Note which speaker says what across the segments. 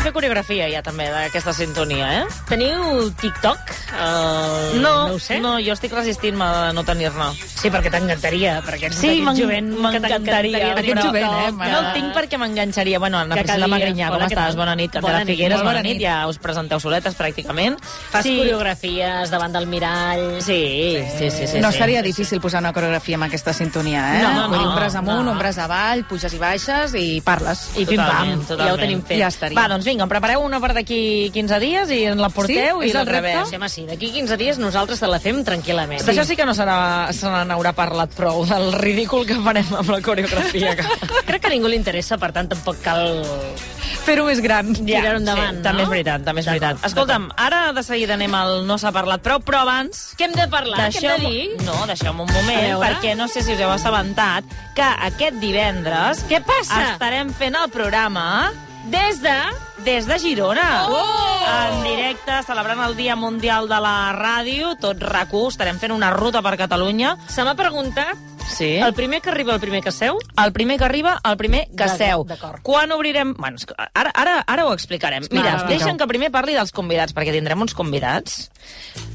Speaker 1: fer coreografia ja també d'aquesta sintonia, eh? Teniu TikTok? Uh,
Speaker 2: No,
Speaker 1: no ho sé.
Speaker 2: no,
Speaker 1: jo estic resistint-me a no tenir-ne.
Speaker 2: Sí, perquè t'encantaria, perquè ets d'aquest jovent que
Speaker 1: m'encantaria.
Speaker 2: t'encantaria. D'aquest jovent, eh?
Speaker 1: No, no el tinc perquè m'enganxaria. Bueno, Ana
Speaker 2: Que
Speaker 1: Priscila
Speaker 2: calia.
Speaker 1: Magrinyà, com
Speaker 2: Hola, què
Speaker 1: estàs?
Speaker 2: tal?
Speaker 1: Bona nit. També
Speaker 2: Bona
Speaker 1: de
Speaker 2: nit,
Speaker 1: Figueres,
Speaker 2: molt
Speaker 1: bona,
Speaker 2: bona
Speaker 1: nit.
Speaker 2: nit.
Speaker 1: Ja us presenteu soletes, pràcticament.
Speaker 2: Fas coreografies davant del mirall...
Speaker 1: Sí, sí, sí. sí
Speaker 3: no
Speaker 1: sí.
Speaker 3: seria difícil posar una coreografia amb aquesta sintonia, eh?
Speaker 1: No,
Speaker 3: Vull dir,
Speaker 1: no,
Speaker 3: un braç amunt,
Speaker 1: no.
Speaker 3: un braç avall, puges i baixes i parles.
Speaker 2: I pim-pam,
Speaker 1: Totalment,
Speaker 2: ja ho
Speaker 1: totalment.
Speaker 2: tenim fet.
Speaker 3: Ja estaria.
Speaker 1: Va, doncs vinga, em prepareu una per d'aquí 15 dies i en la porteu
Speaker 3: Sí?
Speaker 1: i
Speaker 3: És
Speaker 1: la
Speaker 3: el repte?
Speaker 1: rebeu.
Speaker 2: Fem així, d'aquí 15 dies nosaltres te la fem tranquil·lament.
Speaker 1: D'això sí que no serà, se n'haurà parlat prou, del ridícul que farem amb la coreografia.
Speaker 2: Crec que a ningú li interessa, per tant tampoc cal...
Speaker 3: Fer-ho més gran.
Speaker 2: Ja, Tirar-ho endavant,
Speaker 1: sí,
Speaker 2: no?
Speaker 1: També és veritat, també és veritat.
Speaker 2: D'acord,
Speaker 1: Escolta'm, ara de seguida anem al No s'ha parlat prou, però abans...
Speaker 2: Què hem de parlar? Què hem de dir?
Speaker 1: Deixeu-me- No, deixeu-me un moment,
Speaker 2: A veure.
Speaker 1: perquè no sé si us heu assabentat que aquest divendres...
Speaker 2: Què passa?
Speaker 1: Estarem fent el programa
Speaker 2: Des de...
Speaker 1: des de Girona.
Speaker 2: Oh!
Speaker 1: En directe, celebrant el Dia Mundial de la Ràdio, tot RAC1, estarem fent una ruta per Catalunya.
Speaker 2: Se m'ha preguntat
Speaker 1: Sí.
Speaker 2: el primer que arriba, el primer que seu?
Speaker 1: El primer que arriba, el primer que
Speaker 2: D'acord,
Speaker 1: seu.
Speaker 2: d'acord.
Speaker 1: Quan obrirem... Bueno, és que ara, ara, ara ho explicarem.
Speaker 2: va,
Speaker 1: Mira,
Speaker 2: va.
Speaker 1: deixa'm que primer parli dels convidats, perquè tindrem uns convidats.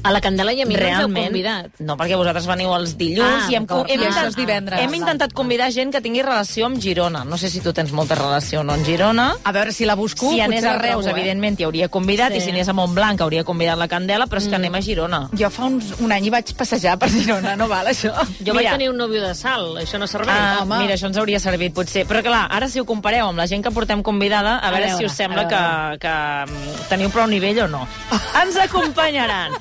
Speaker 2: A la Candela i a mi no ens heu
Speaker 1: Realment.
Speaker 2: convidat.
Speaker 1: No, perquè vosaltres veniu els dilluns
Speaker 2: Ah,
Speaker 1: i hem, co-
Speaker 2: d'acord.
Speaker 1: hem,
Speaker 2: Ah,
Speaker 1: intentat,
Speaker 3: això és divendres.
Speaker 1: hem intentat convidar gent que tingui relació amb Girona. No sé si tu tens molta relació o no amb Girona.
Speaker 3: A veure si la busco.
Speaker 1: Si anés
Speaker 3: potser
Speaker 1: a
Speaker 3: la
Speaker 1: Reus,
Speaker 3: trobo, eh?
Speaker 1: evidentment, t'hi hauria convidat,
Speaker 2: Sí.
Speaker 1: i si anés a Montblanc, hauria convidat la Candela, però és que anem a Girona.
Speaker 3: Jo fa uns, un any hi vaig passejar per Girona, no val això?
Speaker 2: Jo
Speaker 1: Mira.
Speaker 2: vaig tenir un nòvio de sal, això no serveix.
Speaker 1: Ah,
Speaker 3: home.
Speaker 1: mira, això ens hauria servit, potser. Però, clar, ara si ho compareu amb la gent que portem convidada, a,
Speaker 2: A
Speaker 1: veure,
Speaker 2: veure,
Speaker 1: si us
Speaker 2: a
Speaker 1: sembla que,
Speaker 2: veure.
Speaker 1: que mm, teniu prou nivell o no. Ens acompanyaran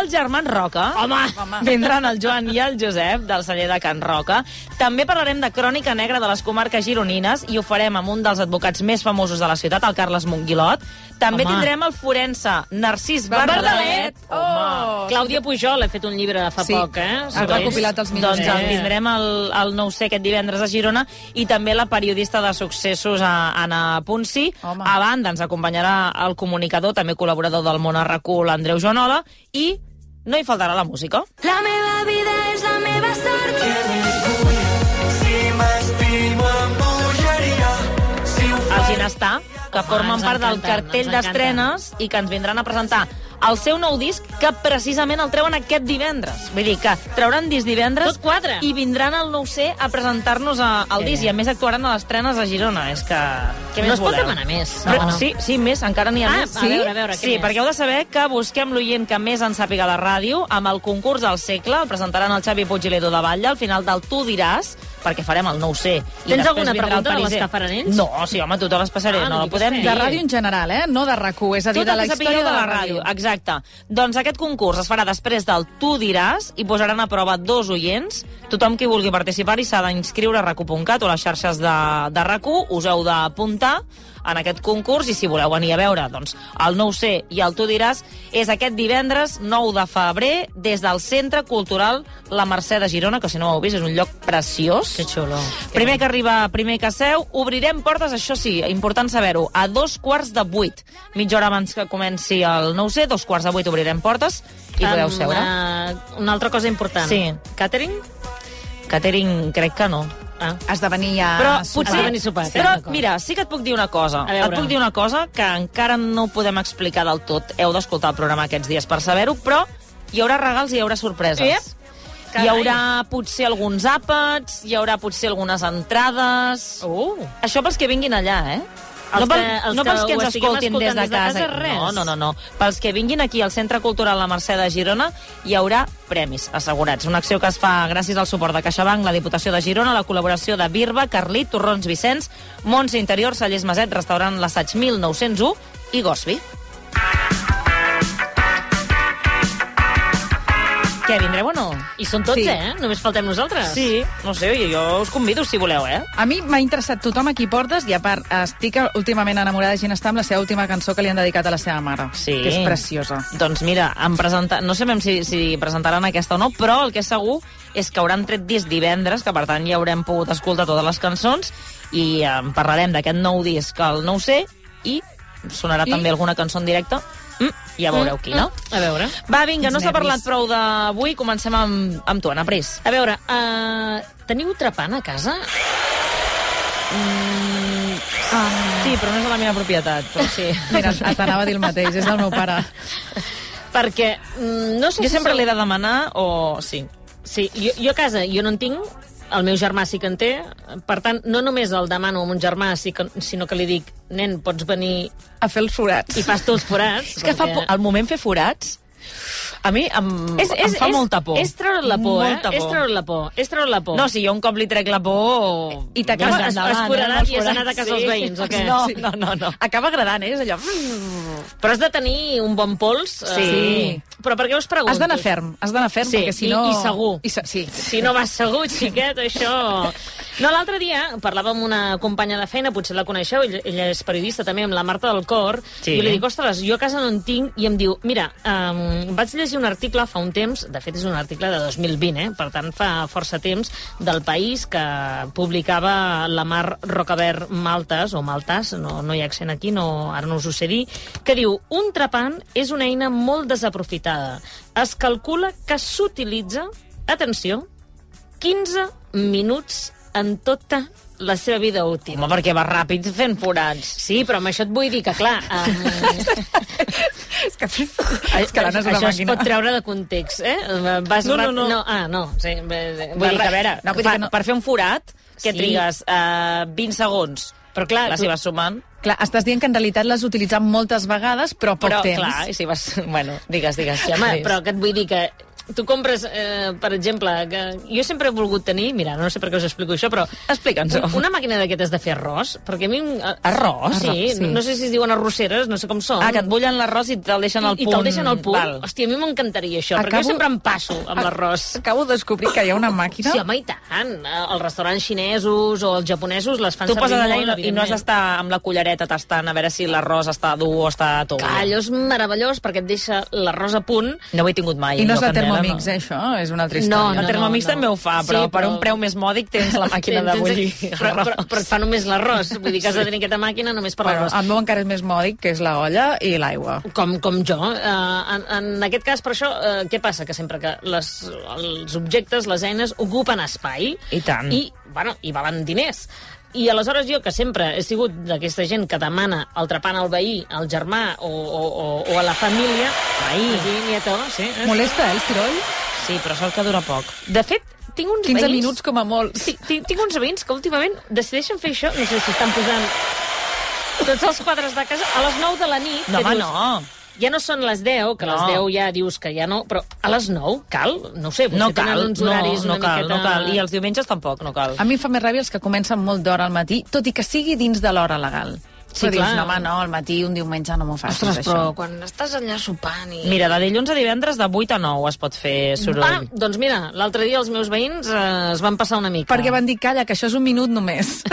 Speaker 1: el germán Roca.
Speaker 2: Home!
Speaker 1: Vindran el Joan i el Josep, del celler de Can Roca. També parlarem de crònica negra de les comarques gironines i ho farem amb un dels advocats més famosos de la ciutat, el Carles Monguilot. També
Speaker 2: Home.
Speaker 1: tindrem el forense Narcís
Speaker 2: Bardalet!
Speaker 1: Bardalet.
Speaker 3: Oh!
Speaker 2: Clàudia Pujol ha fet un llibre fa
Speaker 3: Sí.
Speaker 2: poc, eh?
Speaker 3: Ha
Speaker 2: sobre ells.
Speaker 3: recopilat els millors.
Speaker 1: Doncs el
Speaker 2: Eh.
Speaker 1: tindrem el, el no ho sé aquest divendres a Girona i també la periodista de successos a, Anna Punsi.
Speaker 3: Home.
Speaker 1: A banda ens acompanyarà el comunicador, també col·laborador del món RQ, l'Andreu Joanola, i no hi faltarà la música.
Speaker 4: La meva vida és la meva sort.
Speaker 5: Si m'estimo em bogeria. Si ho
Speaker 1: El Ginestar, que formen
Speaker 2: Ah, ens
Speaker 1: part del
Speaker 2: encanten,
Speaker 1: cartell
Speaker 2: ens
Speaker 1: d'estrenes i que ens vindran a presentar el seu nou disc, que precisament el treuen aquest divendres. Vull dir que trauran disc divendres
Speaker 2: Tot quadra.
Speaker 1: i vindran al nou c a presentar-nos a- al disc. I a més actuaran a les estrenes a Girona. És que... Què
Speaker 2: No
Speaker 1: més
Speaker 2: es pot
Speaker 1: voleu?
Speaker 2: demanar més.
Speaker 1: Però,
Speaker 2: No, no.
Speaker 1: Sí, sí, més, encara n'hi ha
Speaker 2: Ah,
Speaker 1: més.
Speaker 2: a
Speaker 1: sí?
Speaker 2: veure, a veure, què
Speaker 1: sí,
Speaker 2: més?
Speaker 1: perquè heu de saber que busquem l'oient que més en sàpiga la ràdio amb el concurs del segle. El presentaran el Xavi Puig i l'Edo de Batlle al final del Tu diràs, perquè farem el nou c
Speaker 2: Tens alguna pregunta de les que faran ells?
Speaker 1: No, Oh, sí, home, tu te les passaré,
Speaker 2: Ah,
Speaker 1: no,
Speaker 2: no
Speaker 1: la
Speaker 2: diguis
Speaker 1: podem
Speaker 2: res.
Speaker 1: dir.
Speaker 3: De ràdio en general, eh? No de rac és a dir,
Speaker 1: Tot
Speaker 3: de
Speaker 1: el
Speaker 3: la
Speaker 1: que sapigueu
Speaker 3: història
Speaker 1: Tota de la ràdio. Exacte. Doncs aquest concurs es farà després del Tu diràs i posaran a prova dos oients. Tothom qui vulgui participar-hi s'ha d'inscriure a racu.cat o a les xarxes de, de RAC1. Us heu d'apuntar en aquest concurs i si voleu venir a veure doncs, el no ho sé i el Tu diràs és aquest divendres 9 de febrer des del Centre Cultural La Mercè de Girona, que si no ho heu vist és un lloc preciós.
Speaker 2: Que xulo.
Speaker 1: Primer que arriba, primer que seu, obrirem portes, això sí, important saber-ho, a dos quarts de vuit. Mitja hora abans que comenci el no ho sé, dos quarts de vuit obrirem portes i podeu
Speaker 2: Amb,
Speaker 1: seure.
Speaker 2: eh, una altra cosa important.
Speaker 1: Sí.
Speaker 2: Catering?
Speaker 1: Catering crec que no.
Speaker 2: Ah.
Speaker 3: Esdevenir ja...
Speaker 1: Però
Speaker 3: sopar.
Speaker 1: potser...
Speaker 2: venir sopar, sí,
Speaker 1: però,
Speaker 2: d'acord.
Speaker 1: mira, sí que et puc dir una cosa.
Speaker 2: A veure.
Speaker 1: Et puc dir una cosa que encara no podem explicar del tot. Heu d'escoltar el programa aquests dies per saber-ho, però hi haurà regals i hi haurà sorpreses.
Speaker 2: Ep.
Speaker 1: Hi
Speaker 2: Carai.
Speaker 1: haurà potser alguns àpats, hi haurà potser algunes entrades...
Speaker 2: Uh.
Speaker 1: Això pels que vinguin allà, eh?
Speaker 2: Els
Speaker 1: no, pel,
Speaker 2: que- els
Speaker 1: no
Speaker 2: que
Speaker 1: pels que
Speaker 2: ho
Speaker 1: ens
Speaker 2: estiguem
Speaker 1: escoltin des de
Speaker 2: escoltant des
Speaker 1: casa.
Speaker 2: de casa, res.
Speaker 1: No, no, no, no. Pels que vinguin aquí al Centre Cultural La Mercè de Girona hi haurà premis assegurats. Una acció que es fa gràcies al suport de CaixaBank, la Diputació de Girona, la col·laboració de Birba, Carlit, Torrons Vicenç, Montse Interior, Sallés Maset, Restaurant L'Assaig 1901 i Gosby. Què, vindreu o no?
Speaker 2: I són tots,
Speaker 3: Sí.
Speaker 2: eh? Només faltem nosaltres.
Speaker 1: Sí, no sé, jo, jo us convido si voleu, eh?
Speaker 3: A mi m'ha interessat tothom a qui portes i, a part, estic últimament enamorada de Gina Stam, la seva última cançó que li han dedicat a la seva mare,
Speaker 1: Sí.
Speaker 3: que és preciosa.
Speaker 1: Doncs mira, em presenta... no sabem si, si presentaran aquesta o no, però el que és segur és que hauran tret disc divendres, que per tant ja haurem pogut escoltar totes les cançons i eh, en parlarem d'aquest nou disc, el no ho sé, i sonarà I... també alguna cançó en directe. Mm, ja veureu mm, quina. Mm.
Speaker 2: A veure.
Speaker 1: Va, vinga, no s'ha
Speaker 3: nervis.
Speaker 1: parlat prou d'avui, comencem amb, amb tu, Anna Pris.
Speaker 2: A veure,
Speaker 1: eh,
Speaker 2: uh, teniu trepant a casa?
Speaker 1: Sí, però no és de la meva propietat, però sí.
Speaker 3: Mira, t'anava a dir el mateix, és del meu pare.
Speaker 2: Perquè mm, no sé
Speaker 1: Jo
Speaker 2: si
Speaker 1: sempre
Speaker 2: sou-
Speaker 1: l'he de demanar o... Sí.
Speaker 2: Sí, jo, jo a casa jo no en tinc, el meu germà sí que en té, per tant, no només el demano a mon germà, sí que, sinó que li dic, nen, pots venir
Speaker 3: A fer els forats.
Speaker 2: i fas tu els forats.
Speaker 1: És que fa por,
Speaker 2: perquè-
Speaker 1: al moment fer forats, a mi em, em fa molta por.
Speaker 2: És treure't la por,
Speaker 1: Molta
Speaker 2: eh? És treure't la por, és treure't la por.
Speaker 1: No, si jo un cop li trec la por...
Speaker 3: I t'acaba-
Speaker 1: doncs
Speaker 3: es-
Speaker 1: endavant,
Speaker 2: es foradat
Speaker 1: anem als
Speaker 2: i has
Speaker 1: forats.
Speaker 2: anat a casa dels veïns, o què?
Speaker 1: No,
Speaker 2: Sí.
Speaker 1: no, no. no.
Speaker 3: Acaba agradant, eh? És allò...
Speaker 2: Però has de tenir un bon pols. eh,
Speaker 1: Sí.
Speaker 2: Però per què us pregunto?
Speaker 3: Has d'anar ferm, has d'anar ferm,
Speaker 2: Sí,
Speaker 3: perquè si
Speaker 2: i-
Speaker 3: no...
Speaker 2: i segur.
Speaker 3: I se... Sí.
Speaker 2: Si no vas segur, xiquet, això... No, l'altre dia parlava amb una companya de feina, potser la coneixeu, ell- ella és periodista també, amb la Marta del Cor,
Speaker 1: Sí.
Speaker 2: sí. i jo li dic, ostres, jo a casa no en tinc, i em diu, mira, um, vaig llegir un article fa un temps, de fet és un article de 2020, eh? per tant fa força temps, del país que publicava la Mar Rocabert Maltes, o Maltes, no, no hi ha accent aquí, no, ara no us ho sé dir, que diu, un trepant és una eina molt desaprofitada. Es calcula que s'utilitza, atenció, 15 minuts en tota la seva vida útil.
Speaker 1: Home, perquè va ràpid fent forats.
Speaker 2: Sí, però amb això et vull dir que, clar, um,
Speaker 3: És que, és que l'Anna és una
Speaker 2: això es
Speaker 3: màquina.
Speaker 2: pot treure de context, eh? Vas
Speaker 1: No, no,
Speaker 2: rap-
Speaker 1: no.
Speaker 2: no. Ah, no, sí. bé,
Speaker 1: Vull
Speaker 2: va
Speaker 1: dir que, a
Speaker 2: rap-
Speaker 1: veure,
Speaker 3: No,
Speaker 1: no,
Speaker 3: vull dir
Speaker 1: per,
Speaker 3: que no-
Speaker 1: per fer un forat, que
Speaker 2: Sí.
Speaker 1: trigues eh, 20 segons,
Speaker 2: Però clar,
Speaker 1: les hi vas sumant,
Speaker 3: Clar, estàs dient que en realitat l'has utilitzat moltes vegades, però poc
Speaker 1: però,
Speaker 3: temps.
Speaker 1: clar, i si vas... Bueno, digues, digues.
Speaker 2: Sí, home,
Speaker 1: Cris.
Speaker 2: però que et vull dir que tu compres, eh, per exemple, que jo sempre he volgut tenir, mira, no sé per què us explico això, però
Speaker 1: Explica'ns-ho.
Speaker 2: un- una màquina d'aquestes de fer arròs, perquè a mi... eh,
Speaker 1: Arròs?
Speaker 2: Sí,
Speaker 1: Arròs,
Speaker 2: No, no sé si es diuen arrosseres, no sé com són.
Speaker 1: Ah, que et bullen l'arròs i te'l deixen al
Speaker 2: I, i
Speaker 1: punt.
Speaker 2: te'l deixen al punt.
Speaker 1: Val.
Speaker 2: Hòstia, a mi m'encantaria això, Acabo... perquè
Speaker 3: Acabo-
Speaker 2: jo sempre em passo amb l'arròs.
Speaker 3: Acabo de descobrir que hi ha una màquina...
Speaker 2: Sí, home, i tant. Eh, Els restaurants xinesos o els japonesos les fan
Speaker 1: Tu poses
Speaker 2: servir
Speaker 1: allà i
Speaker 2: molt,
Speaker 1: no, i no has
Speaker 2: evidentment.
Speaker 1: d'estar amb la cullereta tastant a veure si l'arròs està dur o està tou.
Speaker 2: Clar, allò és meravellós perquè et deixa l'arròs a punt.
Speaker 1: No ho he tingut mai.
Speaker 3: I no és
Speaker 1: jo,
Speaker 3: de
Speaker 1: Candela,
Speaker 3: Thermomix, eh, això? És una altra
Speaker 2: No,
Speaker 3: història.
Speaker 1: No. El Thermomix
Speaker 2: no, no.
Speaker 1: també ho fa, però,
Speaker 2: Sí,
Speaker 1: per
Speaker 2: però-
Speaker 1: un preu més mòdic tens la màquina de
Speaker 2: Tens-
Speaker 1: bullir.
Speaker 2: tens- Però, però, però et fa només l'arròs. Vull dir que has de tenir aquesta màquina només per
Speaker 3: Bueno,
Speaker 2: l'arròs.
Speaker 3: el meu encara és més mòdic, que és la olla i l'aigua.
Speaker 2: Com, com jo. Eh, en, en aquest cas, per això, eh, què passa? Que sempre que les, els objectes, les eines, ocupen espai.
Speaker 1: I tant.
Speaker 2: I, bueno, i valen diners. I aleshores jo, que sempre he sigut d'aquesta gent que demana el trepant al veí, al germà o, o, o, o a la família... Ai, sí, nieto, sí. eh?
Speaker 3: Molesta, eh, el soroll?
Speaker 1: Sí, però sort que dura poc.
Speaker 2: De fet, tinc uns
Speaker 3: 15
Speaker 2: veïns...
Speaker 3: minuts com a molt.
Speaker 2: Sí, tinc, tinc uns veïns que últimament decideixen fer això, no sé si estan posant tots els quadres de casa, a les 9 de la nit.
Speaker 1: No,
Speaker 2: que
Speaker 1: home,
Speaker 2: dius,
Speaker 1: no.
Speaker 2: Ja no són les 10, que a les
Speaker 1: No.
Speaker 2: 10 ja dius que ja no, però a les 9 cal? No ho sé, potser
Speaker 1: No cal,
Speaker 2: tenen uns
Speaker 1: no,
Speaker 2: horaris
Speaker 1: no
Speaker 2: una
Speaker 1: cal,
Speaker 2: miqueta... Ah.
Speaker 1: no cal. I els diumenges tampoc, no cal.
Speaker 3: A mi em fa més ràbia els que comencen molt d'hora al matí, tot i que sigui dins de l'hora legal.
Speaker 2: Sí,
Speaker 3: però dius,
Speaker 2: clar.
Speaker 3: no, home, no, al matí un diumenge no m'ho facis,
Speaker 2: Ostres,
Speaker 3: això.
Speaker 2: però quan estàs allà sopant i...
Speaker 1: Mira, de dilluns a divendres de 8 a 9 es pot fer
Speaker 2: Ah,
Speaker 1: soroll.
Speaker 2: doncs mira, l'altre dia els meus veïns eh, es van passar una mica.
Speaker 3: Perquè van dir, calla, que això és un minut només.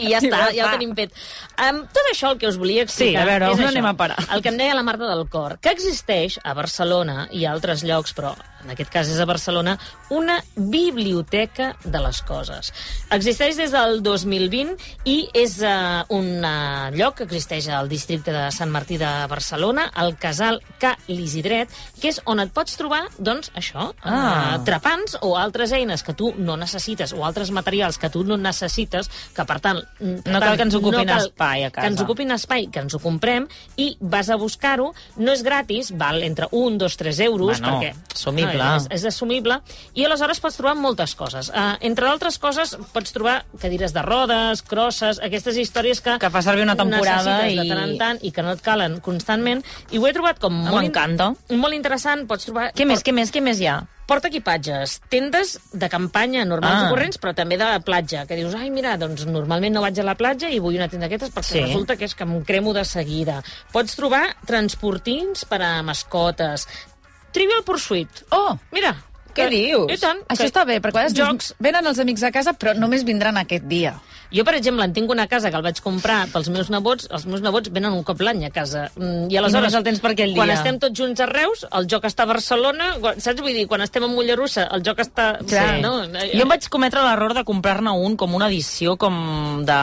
Speaker 2: I ja està, ja ho tenim fet. Um, tot això el que us volia explicar...
Speaker 1: Sí, a veure,
Speaker 2: és
Speaker 1: on
Speaker 2: això,
Speaker 1: anem a parar?
Speaker 2: El que em deia la Marta del Cor, que existeix a Barcelona i a altres llocs, però en aquest cas és a Barcelona, una biblioteca de les coses. Existeix des del 2020 i és uh, un uh, lloc que existeix al districte de Sant Martí de Barcelona, al casal Ca l'Isidret, que és on et pots trobar, doncs, això,
Speaker 1: Ah.
Speaker 2: ah. trepants o altres eines que tu no necessites o altres materials que tu no necessites, que per tant... mm, per
Speaker 1: No
Speaker 2: tant,
Speaker 1: cal que ens ocupin
Speaker 2: cal
Speaker 1: espai a casa.
Speaker 2: Que ens ocupin espai, que ens ho comprem i vas a buscar-ho. No és gratis, val entre 1, 2, 3 euros,
Speaker 1: Bueno,
Speaker 2: perquè...
Speaker 1: assumible.
Speaker 2: No, és, és assumible. I aleshores pots trobar moltes coses. Uh, entre d'altres coses, pots trobar cadires de rodes, crosses, aquestes històries que...
Speaker 1: Que fa servir una temporada
Speaker 2: necessites
Speaker 1: i-
Speaker 2: de tant en tant i que no et calen constantment. I ho he trobat com molt... in-
Speaker 1: Ah, M'encanta.
Speaker 2: Molt interessant, pots trobar...
Speaker 1: Què més, què més, què més hi ha?
Speaker 2: Porta equipatges, tendes de campanya normals ah.
Speaker 1: Ah.
Speaker 2: i corrents, però també de platja, que dius, ai, mira, doncs normalment no vaig a la platja i vull una tenda d'aquestes perquè
Speaker 1: Sí.
Speaker 2: sí. resulta que és que em cremo de seguida. Pots trobar transportins per a mascotes, Trivial Pursuit.
Speaker 3: Oh,
Speaker 2: Mira,
Speaker 1: Què dius?
Speaker 2: I tant.
Speaker 3: Això està bé, perquè a vegades
Speaker 2: Jocs,
Speaker 3: Jocs... venen els amics a casa, però només vindran aquest dia.
Speaker 2: Jo, per exemple, en tinc una casa que el vaig comprar pels meus nebots. Els meus nebots venen un cop l'any a casa. Mm, I aleshores...
Speaker 1: només el tens per aquell
Speaker 2: Quan
Speaker 1: dia.
Speaker 2: estem tots junts a Reus, el joc està a Barcelona. quan- Saps? Vull dir, quan estem a Mollerussa, el joc està...
Speaker 3: Clar.
Speaker 2: No? eh.
Speaker 1: Jo em vaig cometre l'error de comprar-ne un com una edició com de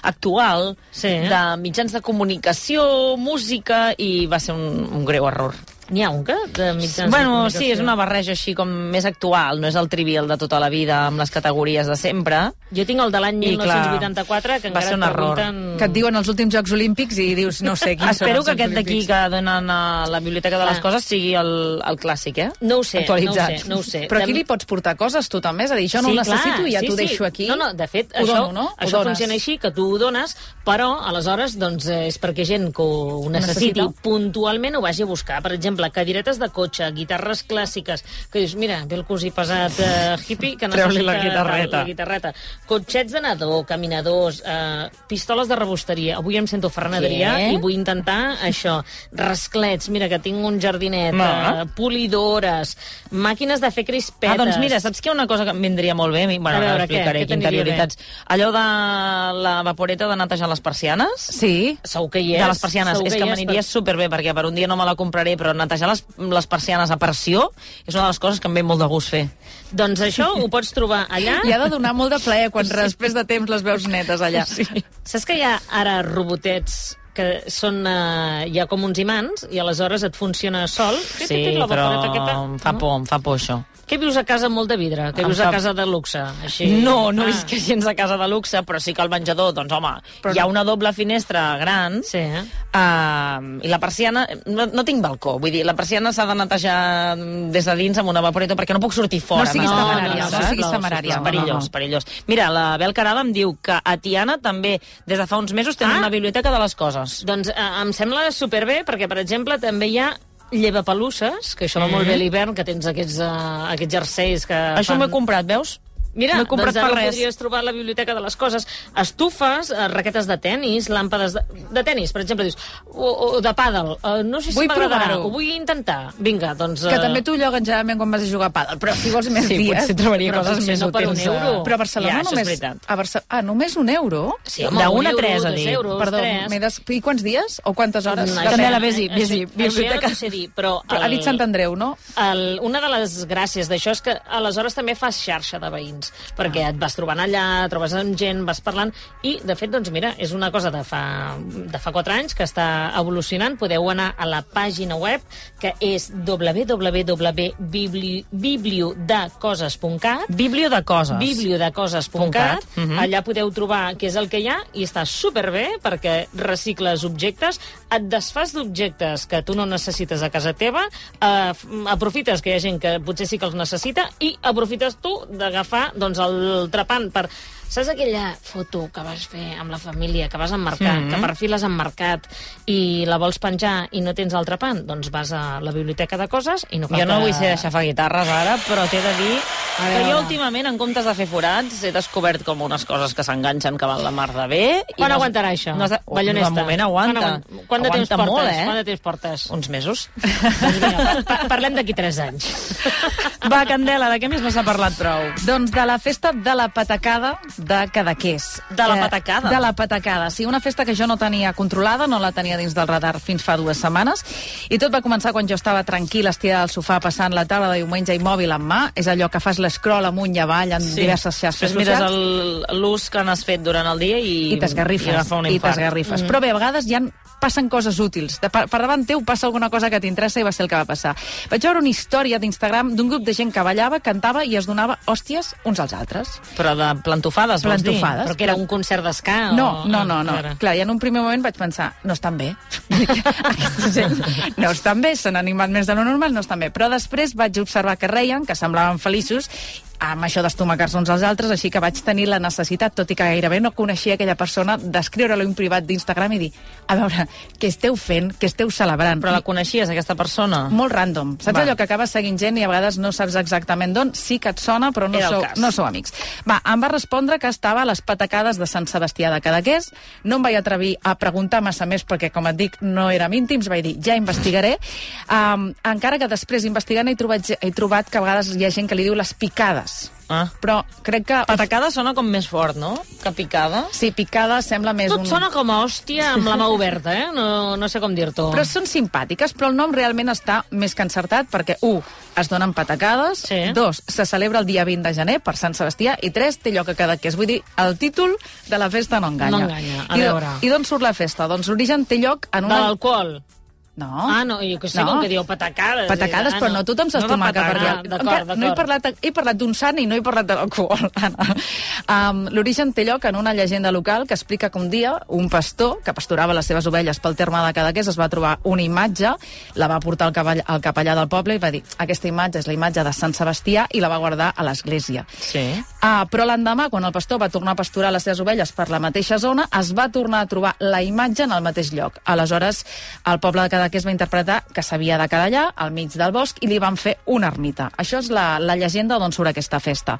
Speaker 1: actual,
Speaker 2: Sí, eh?
Speaker 1: de mitjans de comunicació, música, i va ser un, un greu error.
Speaker 2: N'hi ha un que? De mitjans de
Speaker 1: bueno,
Speaker 2: comunicació?
Speaker 1: sí, és una barreja així com més actual, no és el trivial de tota la vida amb les categories de sempre.
Speaker 2: Jo tinc el de l'any
Speaker 1: I, clar,
Speaker 2: 1984, que
Speaker 1: va
Speaker 2: encara
Speaker 1: ser un
Speaker 2: et
Speaker 1: error.
Speaker 2: pregunten...
Speaker 3: Que et diuen els últims Jocs Olímpics i dius, no sé, quins són
Speaker 1: Espero
Speaker 3: els
Speaker 1: que
Speaker 3: Jocs
Speaker 1: aquest d'aquí
Speaker 3: Olímpics.
Speaker 1: que donen a la Biblioteca de les
Speaker 2: Clar.
Speaker 1: Coses sigui el, el clàssic, eh?
Speaker 2: No ho sé,
Speaker 3: actualitzat.
Speaker 2: no ho sé, no ho sé.
Speaker 3: Però aquí
Speaker 2: De-
Speaker 3: li pots portar coses tu també, és a dir, jo no ho necessito i ja t'ho deixo aquí.
Speaker 2: No, no, de fet,
Speaker 3: ho
Speaker 2: això,
Speaker 3: dono, no? Ho
Speaker 2: això
Speaker 3: dones.
Speaker 2: funciona així, que tu ho dones, però aleshores doncs, eh, és perquè gent que ho necessiti
Speaker 3: Necessita.
Speaker 2: puntualment ho vagi a buscar. Per exemple, cadiretes de cotxe, guitarres clàssiques, que dius, mira, ve el cosí pesat eh, hippie que necessita...
Speaker 1: Treu-li la guitarreta.
Speaker 2: tal, La guitarreta. Cotxets de nadó, caminadors, eh, pistoles de rebosteria. Avui em sento Ferran Adrià
Speaker 1: Què?
Speaker 2: i vull intentar això. Rasclets, mira, que tinc un jardinet.
Speaker 1: No.
Speaker 2: Eh, polidores, màquines de fer crispetes.
Speaker 1: Ah, doncs mira, saps que hi ha una cosa que em vindria molt bé? A mi- Bueno,
Speaker 2: A
Speaker 1: ara
Speaker 2: veure,
Speaker 1: explicaré
Speaker 2: què? Què
Speaker 1: que
Speaker 2: t'aniria
Speaker 1: interioritats. Allò de la vaporeta de netejar les persianes?
Speaker 3: Sí,
Speaker 2: Segur que hi és.
Speaker 1: de les persianes.
Speaker 2: segur
Speaker 1: És que
Speaker 2: hi
Speaker 1: m'aniria superbé, perquè per un dia no me la compraré, però netejar les, les persianes a pressió és una de les coses que em ve molt de gust fer.
Speaker 2: però- Doncs això ho pots trobar allà.
Speaker 3: i ha de donar molt de plaer quan després de temps les veus netes allà. Sí.
Speaker 2: Saps que hi ha ara robotets que són, eh, hi ha com uns imants i aleshores et funciona sol. Tic, tic, tic, la
Speaker 1: però
Speaker 2: vaporeta aquesta.
Speaker 1: em fa por, em fa por això.
Speaker 2: eh? Què vius a casa molt de vidre? Què
Speaker 1: Em
Speaker 2: vius
Speaker 1: fa-
Speaker 2: a casa de luxe? Així...
Speaker 1: No, no
Speaker 2: Ah.
Speaker 1: és que gens a casa de luxe, però sí que al menjador, doncs home,
Speaker 2: Però
Speaker 1: hi ha
Speaker 2: no.
Speaker 1: una doble finestra gran,
Speaker 2: Sí, eh?
Speaker 1: Uh, I la persiana... No, no tinc balcó, vull dir, la persiana s'ha de netejar des de dins amb una vaporeta perquè no puc sortir fora.
Speaker 3: No siguis
Speaker 1: m'està
Speaker 2: temerària,
Speaker 1: nerviosa,
Speaker 2: no, no
Speaker 1: eh?
Speaker 2: siguis
Speaker 3: temerària.
Speaker 1: sisplau, Perillós,
Speaker 3: No, no.
Speaker 1: perillós. Mira, la Bel Carada em diu que a Tiana també, des de fa uns mesos, tenen
Speaker 2: Ah.
Speaker 1: una biblioteca de les coses.
Speaker 2: Doncs eh, em sembla superbé perquè, per exemple, també hi ha llevapelusses, que això va molt bé a l'hivern, que tens aquests, uh, aquests jerseis que
Speaker 1: Mm. Això
Speaker 2: fan...
Speaker 1: m'ho he comprat, veus?
Speaker 2: Mira,
Speaker 1: m'ho he comprat
Speaker 2: doncs ara
Speaker 1: per
Speaker 2: ho
Speaker 1: res.
Speaker 2: podries trobar a la biblioteca de les coses. Estufes, eh, raquetes de tennis, làmpades de, de tennis, per exemple, dius, o, o de pàdel. Uh, no sé si
Speaker 3: Vull
Speaker 2: m'agradarà,
Speaker 3: provar-ho.
Speaker 2: ho vull intentar. Vinga, doncs...
Speaker 3: Que
Speaker 2: eh,
Speaker 3: també t'ho lloguen generalment quan vas a jugar a pàdel, però si vols més
Speaker 1: Sí,
Speaker 3: dies...
Speaker 1: potser trobaria
Speaker 2: Però
Speaker 1: coses
Speaker 2: potser
Speaker 1: més
Speaker 2: no per un
Speaker 1: útils.
Speaker 2: euro.
Speaker 3: Però a Barcelona
Speaker 1: ja, això és
Speaker 3: només...
Speaker 1: veritat.
Speaker 3: A Barce... Ah, només un euro?
Speaker 2: Sí, home,
Speaker 1: de
Speaker 2: un
Speaker 1: una a
Speaker 2: euro,
Speaker 1: tres, a
Speaker 2: dos
Speaker 1: dir.
Speaker 2: euros,
Speaker 3: Perdó,
Speaker 2: tres. Doncs
Speaker 3: m'he des... I quants dies? O quantes hores?
Speaker 2: Això-
Speaker 1: Mm, També a la Besi,
Speaker 2: això-
Speaker 1: Besi,
Speaker 2: Això ja no
Speaker 1: biblioteca.
Speaker 2: t'ho sé dir, però... eh,
Speaker 3: Però ha dit Sant Andreu, no?
Speaker 2: El, una de les gràcies d'això és que aleshores també fas xarxa de veïns, perquè et vas trobant allà, trobes amb gent, vas parlant, i, de fet, doncs mira, és una cosa de fa, de fa 4 anys que està evolucionant. Podeu anar a la pàgina web, que és www.bibliodecoses.cat,
Speaker 1: Biblio de coses.
Speaker 2: bibliodecoses.cat,
Speaker 1: Punt cat, mhm.
Speaker 2: allà podeu trobar què és el que hi ha i està superbé perquè recicles objectes, et desfas d'objectes que tu no necessites a casa teva, eh, f- aprofites que hi ha gent que potser sí que els necessita i aprofites tu d'agafar doncs, el trepant per... Saps aquella foto que vas fer amb la família, que vas emmarcar,
Speaker 1: Mm-hmm.
Speaker 2: mm -hmm. que per fi l'has emmarcat i la vols penjar i no tens el trepant? Doncs vas a la biblioteca de coses i no cal
Speaker 1: Jo no
Speaker 2: que-
Speaker 1: vull ser d'aixafar guitarres ara, però t'he de
Speaker 2: A
Speaker 1: dir que
Speaker 2: veure.
Speaker 1: jo últimament, en comptes de fer forats, he descobert com unes coses que s'enganxen que van la mar de bé. i
Speaker 2: Quan
Speaker 1: no-
Speaker 2: aguantarà això?
Speaker 1: No,
Speaker 2: Ballonesta.
Speaker 1: de moment aguanta.
Speaker 2: Quan, aguant- quant de
Speaker 1: aguanta
Speaker 2: temps portes?
Speaker 1: molt, eh?
Speaker 2: Quant de temps portes?
Speaker 1: Uns mesos.
Speaker 2: Doncs vinga, pa parlem d'aquí 3 anys.
Speaker 1: Va, Candela, de què més no s'ha parlat prou?
Speaker 3: Doncs de la festa de la patacada de Cadaqués.
Speaker 1: De la
Speaker 3: Eh,
Speaker 1: patacada?
Speaker 3: De la patacada, sí, una festa que jo no tenia controlada, no la tenia dins del radar fins fa dues setmanes, i tot va començar quan jo estava tranquil, estirada al sofà, passant la taula de diumenge i mòbil en mà, és allò que fas l'escroll amunt i avall en diverses xarxes
Speaker 1: Després mires
Speaker 3: socials.
Speaker 1: el- l'ús que n'has fet durant el dia
Speaker 3: i
Speaker 1: i... I
Speaker 3: t'esgarrifes,
Speaker 1: agafa un
Speaker 3: i
Speaker 1: infart.
Speaker 3: t'esgarrifes. Mm. Però bé, a vegades ja passen coses útils. De, per, per davant teu passa alguna cosa que t'interessa i va ser el que va passar. Vaig veure una història d'Instagram d'un grup de gent que ballava, cantava i es donava hòsties uns als altres.
Speaker 1: Mm. Però de plantofades, vols dir?
Speaker 3: Plantofades.
Speaker 2: Però que era un concert d'escà? o-
Speaker 3: No, no, no, no.
Speaker 2: Ara.
Speaker 3: Clar, i en un primer moment vaig pensar, no estan bé. Aquesta gent no estan bé, s'han animat més de lo normal, no estan bé. Però després vaig observar que reien, que semblaven feliços, amb això d'estomacar-se uns als altres, així que vaig tenir la necessitat, tot i que gairebé no coneixia aquella persona, d'escriure-lo en privat d'Instagram i dir, a veure, què esteu fent, què esteu celebrant?
Speaker 1: Però la coneixies, aquesta persona?
Speaker 3: Molt random. Saps
Speaker 1: Va.
Speaker 3: Va. allò que acabes seguint gent i a vegades no saps exactament d'on? Sí que et sona, però no
Speaker 1: Era el
Speaker 3: sou,
Speaker 1: cas.
Speaker 3: no sou amics. Va, em va respondre que estava a les patacades de Sant Sebastià de Cadaqués. No em vaig atrevir a preguntar massa més perquè, com et dic, no érem íntims, vaig dir, ja investigaré. Um, encara que després investigant he trobat, ge- he trobat que a vegades hi ha gent que li diu les picades.
Speaker 1: Ah.
Speaker 3: Però crec que...
Speaker 1: Patacada sona com més fort, no? Que picada.
Speaker 3: Sí, picada sembla més
Speaker 2: Tot
Speaker 3: un...
Speaker 2: sona com a hòstia amb la mà oberta, eh? No, no sé com dir-t'ho.
Speaker 3: Però són simpàtiques, però el nom realment està més que encertat perquè, un, es donen patacades,
Speaker 2: Sí.
Speaker 3: dos, se celebra el dia 20 de gener per Sant Sebastià, i tres, té lloc a Cadaqués. Vull dir, el títol de la festa no enganya.
Speaker 2: No enganya, a
Speaker 3: I, do-
Speaker 2: veure.
Speaker 3: I d'on surt la festa? Doncs l'origen té lloc en
Speaker 2: De
Speaker 3: una...
Speaker 2: l'alcohol.
Speaker 3: No.
Speaker 2: Ah, no, jo que sé com que diu patacades.
Speaker 3: Patacades,
Speaker 2: Ah,
Speaker 3: però no tothom s'estomaca.
Speaker 2: de
Speaker 3: No
Speaker 2: patacades.
Speaker 3: perquè...
Speaker 2: Ah,
Speaker 3: encara
Speaker 2: D'acord, d'acord.
Speaker 3: No he parlat, he parlat d'un sant i no he parlat de l'alcohol, Anna. Um, L'origen té lloc en una llegenda local que explica que un dia un pastor que pasturava les seves ovelles pel terme de Cadaqués es va trobar una imatge, la va portar al, cavall, al capellà del poble i va dir aquesta imatge és la imatge de Sant Sebastià i la va guardar a l'església.
Speaker 1: Sí.
Speaker 3: Ah, però l'endemà, quan el pastor va tornar a pasturar les seves ovelles per la mateixa zona, es va tornar a trobar la imatge en el mateix lloc. Aleshores, el poble de Cadaqués va interpretar que s'havia de quedar allà, al mig del bosc, i li van fer una ermita. Això és la, la llegenda d'on surt aquesta festa.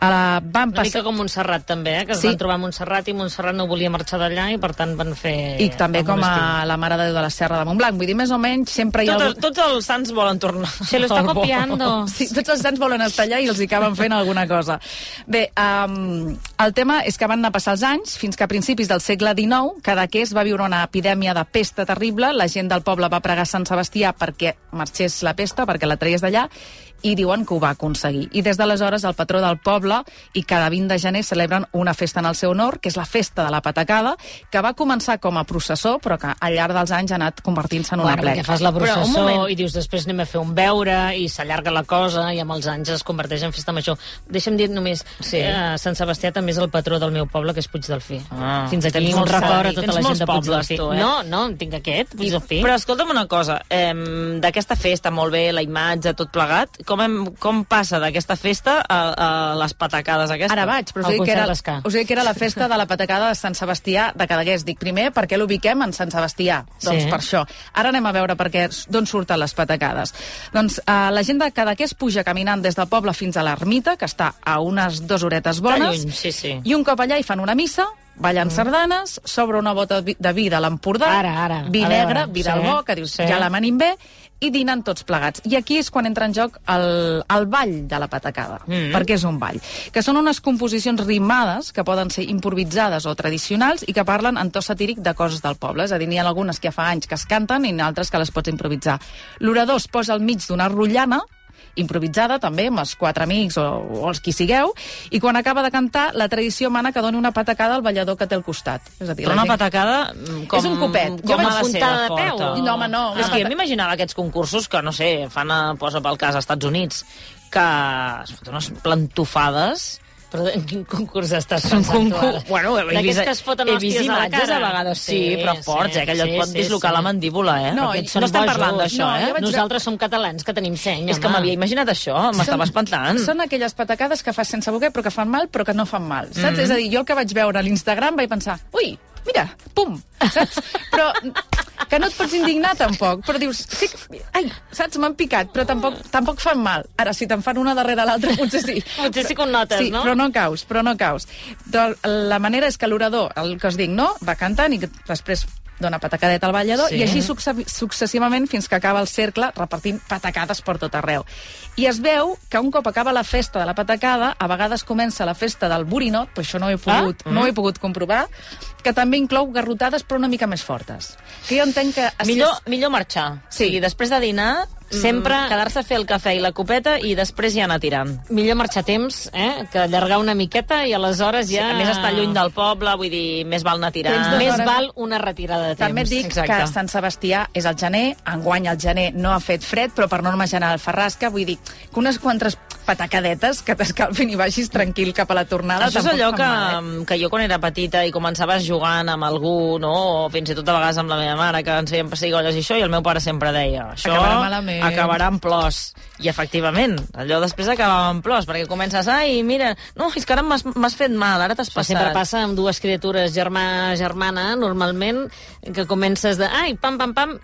Speaker 3: A la, van
Speaker 2: Una
Speaker 3: passar...
Speaker 2: mica com Montserrat, també, eh? que es
Speaker 3: Sí.
Speaker 2: sí. van trobar a Montserrat i Montserrat no volia marxar d'allà i, per tant, van fer...
Speaker 3: I també
Speaker 2: el
Speaker 3: com
Speaker 2: monestir.
Speaker 3: a la Mare de Déu de la Serra de Montblanc. Vull dir, més o menys, sempre hi ha...
Speaker 1: Tot,
Speaker 3: algú-
Speaker 1: tots els sants volen tornar.
Speaker 2: Se lo está
Speaker 1: al bo.
Speaker 2: copiando.
Speaker 3: Sí, tots els sants volen estar allà i els hi acaben fent alguna cosa. Bé, um, el tema és que van anar a passar els anys, fins que a principis del segle XIX, Cadaqués va viure una epidèmia de pesta terrible, la gent del poble va pregar a Sant Sebastià perquè marxés la pesta, perquè la traies d'allà, i diuen que ho va aconseguir. I des d'aleshores el patró del poble i cada 20 de gener celebren una festa en el seu honor, que és la festa de la patacada, que va començar com a processó, però que al llarg dels anys ha anat convertint-se en una
Speaker 2: Bueno, perquè
Speaker 3: plec.
Speaker 2: fas la
Speaker 1: Ah, Però, un
Speaker 2: processó
Speaker 1: moment.
Speaker 2: i dius després anem a fer un beure i s'allarga la cosa i amb els anys es converteix en festa major. Deixa'm dir només,
Speaker 1: Sí.
Speaker 2: sí. eh, Sant Sebastià també és el patró del meu poble, que és Puig Delfí.
Speaker 1: Ah.
Speaker 2: Fins aquí
Speaker 1: Tens
Speaker 2: un
Speaker 1: molts
Speaker 2: record a
Speaker 1: pobles,
Speaker 2: tota
Speaker 1: tens
Speaker 2: la gent
Speaker 1: molts
Speaker 2: de Puig
Speaker 1: pobles,
Speaker 2: Delfí.
Speaker 1: tu, eh?
Speaker 2: No, no, en tinc aquest, Puig Delfí.
Speaker 1: Però escolta'm una cosa, eh, d'aquesta festa, molt bé, la imatge, tot plegat, com, hem, com passa d'aquesta festa a, a les patacades aquestes?
Speaker 3: Ara vaig, però us
Speaker 2: Al
Speaker 3: he dit que era,
Speaker 2: concert d'Esca.
Speaker 3: us he dit que era la festa de la patacada de Sant Sebastià de Cadaqués. Dic, primer, per què l'ubiquem en Sant Sebastià? Doncs
Speaker 2: Sí.
Speaker 3: per això. Ara anem a veure per què, d'on surten les patacades. Doncs eh, la gent de Cadaqués puja caminant des del poble fins a l'ermita, que està a unes dues horetes bones,
Speaker 1: lluny, sí, sí.
Speaker 3: i un cop allà hi fan una missa, ballen mm. sardanes, s'obre una bota vi- de vi de l'Empordà,
Speaker 2: Ara, ara,
Speaker 3: vi
Speaker 2: a
Speaker 3: negre,
Speaker 2: veure,
Speaker 3: vi
Speaker 2: sí,
Speaker 3: del bo, que dius,
Speaker 2: sí.
Speaker 3: ja la manim bé, i dinen tots plegats. I aquí és quan entra en joc el, el ball de la patacada, mm. perquè és un ball, que són unes composicions rimades que poden ser improvisades o tradicionals i que parlen en to satíric de coses del poble. És a dir, n'hi ha algunes que fa anys que es canten i altres que les pots improvisar. L'orador es posa al mig d'una rotllana improvisada també amb els quatre amics o, o els qui sigueu i quan acaba de cantar la tradició mana que doni una patacada al ballador que té al costat és a dir,
Speaker 1: Però
Speaker 3: la
Speaker 1: una
Speaker 3: gent-
Speaker 1: patacada mm, com...
Speaker 3: És un copet. Jo
Speaker 1: Com
Speaker 3: vaig
Speaker 1: ha de ser
Speaker 2: puntada de peu,
Speaker 1: forta?
Speaker 2: o-
Speaker 3: No, home, no, una
Speaker 1: És que
Speaker 3: pata-
Speaker 1: jo m'imaginava aquests concursos que, no sé, fan, a, posa pel cas, als Estats Units, que es foten unes plantofades...
Speaker 2: Però en quin concurs estàs
Speaker 1: És un
Speaker 2: pensant tu ara?
Speaker 1: concurs... Bueno, he
Speaker 2: D'aquests
Speaker 1: vist,
Speaker 2: que es foten
Speaker 1: he
Speaker 2: hòsties
Speaker 1: vist
Speaker 2: a la
Speaker 1: imatges
Speaker 2: cara.
Speaker 1: a vegades, sí, però forts, eh, que allò et pot dislocar la mandíbula, eh?
Speaker 3: No,
Speaker 1: Perquè
Speaker 3: i-
Speaker 1: no estem parlant d'això,
Speaker 3: no,
Speaker 1: eh?
Speaker 3: jo vaig-
Speaker 2: Nosaltres som catalans, que tenim seny,
Speaker 1: És que m'havia imaginat això, m'estava espantant.
Speaker 3: Són aquelles patacades que fas sense voler però que fan mal però que no fan mal, saps?
Speaker 2: Mhm.
Speaker 3: És a dir, jo el que vaig veure a l'Instagram vaig pensar, ui, mira, pum, saps? Però que no et pots indignar tampoc, però dius, sí, que- ai, saps, m'han picat, però tampoc, tampoc fan mal. Ara, si te'n fan una darrere l'altra, potser sí.
Speaker 2: Potser sí que ho notes,
Speaker 3: sí,
Speaker 2: no?
Speaker 3: però no caus, però no caus. Doncs la manera és que l'orador, el que us dic, no? Va cantant i que després dona patacadeta al ballador
Speaker 1: Sí.
Speaker 3: sí. i així succe- successivament fins que acaba el cercle repartint patacades per tot arreu. I es veu que un cop acaba la festa de la patacada, a vegades comença la festa del burinot, però això no ho he pogut, ah? no
Speaker 1: mm.
Speaker 3: ho he pogut comprovar, que també inclou garrotades però una mica més fortes. Que jo entenc que... així
Speaker 1: Millor,
Speaker 3: és-
Speaker 1: millor marxar.
Speaker 3: Sí.
Speaker 1: Sí. O sigui, després de dinar, sempre
Speaker 2: Sempre-
Speaker 1: quedar-se a fer el cafè i la copeta i després ja anar tirant.
Speaker 2: Millor marxar a temps, eh? Que allargar una miqueta i aleshores
Speaker 1: Ja.
Speaker 2: ja...
Speaker 1: A més, està lluny del poble, vull dir, més val anar tirant.
Speaker 3: Tens dos
Speaker 2: Més
Speaker 3: hores.
Speaker 2: val una retirada de temps.
Speaker 3: També et dic
Speaker 1: exacte.
Speaker 3: que Sant Sebastià és el gener, enguany el gener no ha fet fred, però per norma general fa rasca, vull dir que unes quantes patacadetes que t'escalfin i baixis tranquil cap a la tornada.
Speaker 1: Això és
Speaker 3: tampoc
Speaker 1: allò
Speaker 3: fa
Speaker 1: que, mm,
Speaker 3: mal, eh?
Speaker 1: que jo quan era petita i començaves jugant amb algú, no? o fins i tot a vegades amb la meva mare, que ens feien pessigolles i això, i el meu pare sempre deia, això
Speaker 3: Acabarà malament."
Speaker 1: acabarà en plors. I efectivament, allò després acabava en plors, perquè comences, ai, mira, no, és que ara m'has m'has fet mal, ara t'has
Speaker 2: Però sempre
Speaker 1: passat.
Speaker 2: passa amb dues criatures, germà, germana, normalment, que comences de... Ai, pam, pam, pam,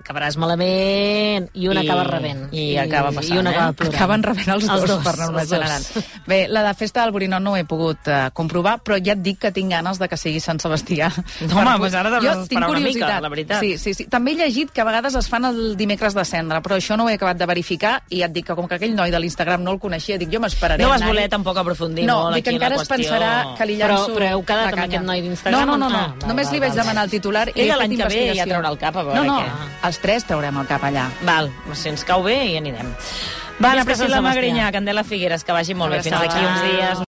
Speaker 2: acabaràs malament, i un
Speaker 1: I-
Speaker 2: acaba rebent.
Speaker 1: i acaba passant,
Speaker 2: I un
Speaker 1: eh?
Speaker 2: acaba plorant.
Speaker 3: Acaben rebent els,
Speaker 2: Els
Speaker 3: dos,
Speaker 2: dos,
Speaker 3: per norma
Speaker 2: els dos.
Speaker 3: general. Bé, la de festa del Borinó no ho he pogut eh, comprovar, però ja et dic que tinc ganes de que sigui Sant Sebastià.
Speaker 1: No,
Speaker 3: Per
Speaker 1: home,
Speaker 3: pu-
Speaker 1: doncs ara t'has
Speaker 3: jo
Speaker 1: d'esperar
Speaker 3: tinc
Speaker 1: una mica,
Speaker 3: curiositat.
Speaker 1: la veritat.
Speaker 3: Sí, sí, sí. També he llegit que a vegades es fan el dimecres de cendra, però això no ho he acabat de verificar i ja et dic que com que aquell noi de l'Instagram no el coneixia, dic, jo m'esperaré.
Speaker 1: No vas
Speaker 3: anar-hi.
Speaker 1: voler tampoc aprofundir
Speaker 3: no,
Speaker 1: molt
Speaker 3: dic que
Speaker 1: aquí en la
Speaker 3: encara es
Speaker 1: qüestió.
Speaker 3: pensarà que li
Speaker 2: Però-
Speaker 3: llanço
Speaker 2: però heu quedat
Speaker 3: la
Speaker 2: amb
Speaker 3: canya.
Speaker 2: aquest noi d'Instagram?
Speaker 3: No, no, no, no.
Speaker 2: Ah, val,
Speaker 3: només li
Speaker 2: val,
Speaker 3: vaig
Speaker 2: val.
Speaker 3: demanar el titular i
Speaker 1: Ella
Speaker 3: he fet
Speaker 1: l'any que ve ja
Speaker 3: investigació.
Speaker 1: traurà el cap, a veure
Speaker 3: No, no,
Speaker 1: què.
Speaker 3: els tres traurem el cap allà.
Speaker 1: Val, si ens cau bé i anirem. Va,
Speaker 2: Visca
Speaker 1: Anna
Speaker 2: Sant
Speaker 1: Priscila
Speaker 2: Sebastià.
Speaker 1: Magrinyà, Candela Figueres, que vagi molt bé. Fins
Speaker 3: Abraçada.
Speaker 1: d'aquí uns dies.